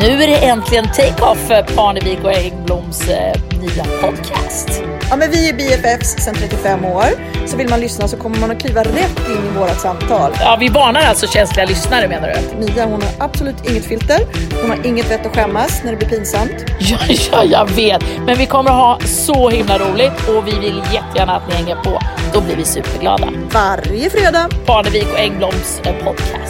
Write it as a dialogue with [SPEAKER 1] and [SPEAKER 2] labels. [SPEAKER 1] nu är det äntligen take-off för Parnevik och Engbloms eh, nya podcast.
[SPEAKER 2] Ja, men vi är BFFs sedan 35 år, så vill man lyssna så kommer man att kliva rätt in i vårt samtal.
[SPEAKER 1] Ja, vi varnar alltså känsliga lyssnare menar du?
[SPEAKER 2] Mia hon har absolut inget filter, hon har inget vett att skämmas när det blir pinsamt.
[SPEAKER 1] Ja, ja, jag vet. Men vi kommer att ha så himla roligt och vi vill jättegärna att ni hänger på. Då blir vi superglada.
[SPEAKER 2] Varje fredag
[SPEAKER 1] Parnevik och Engbloms eh, podcast.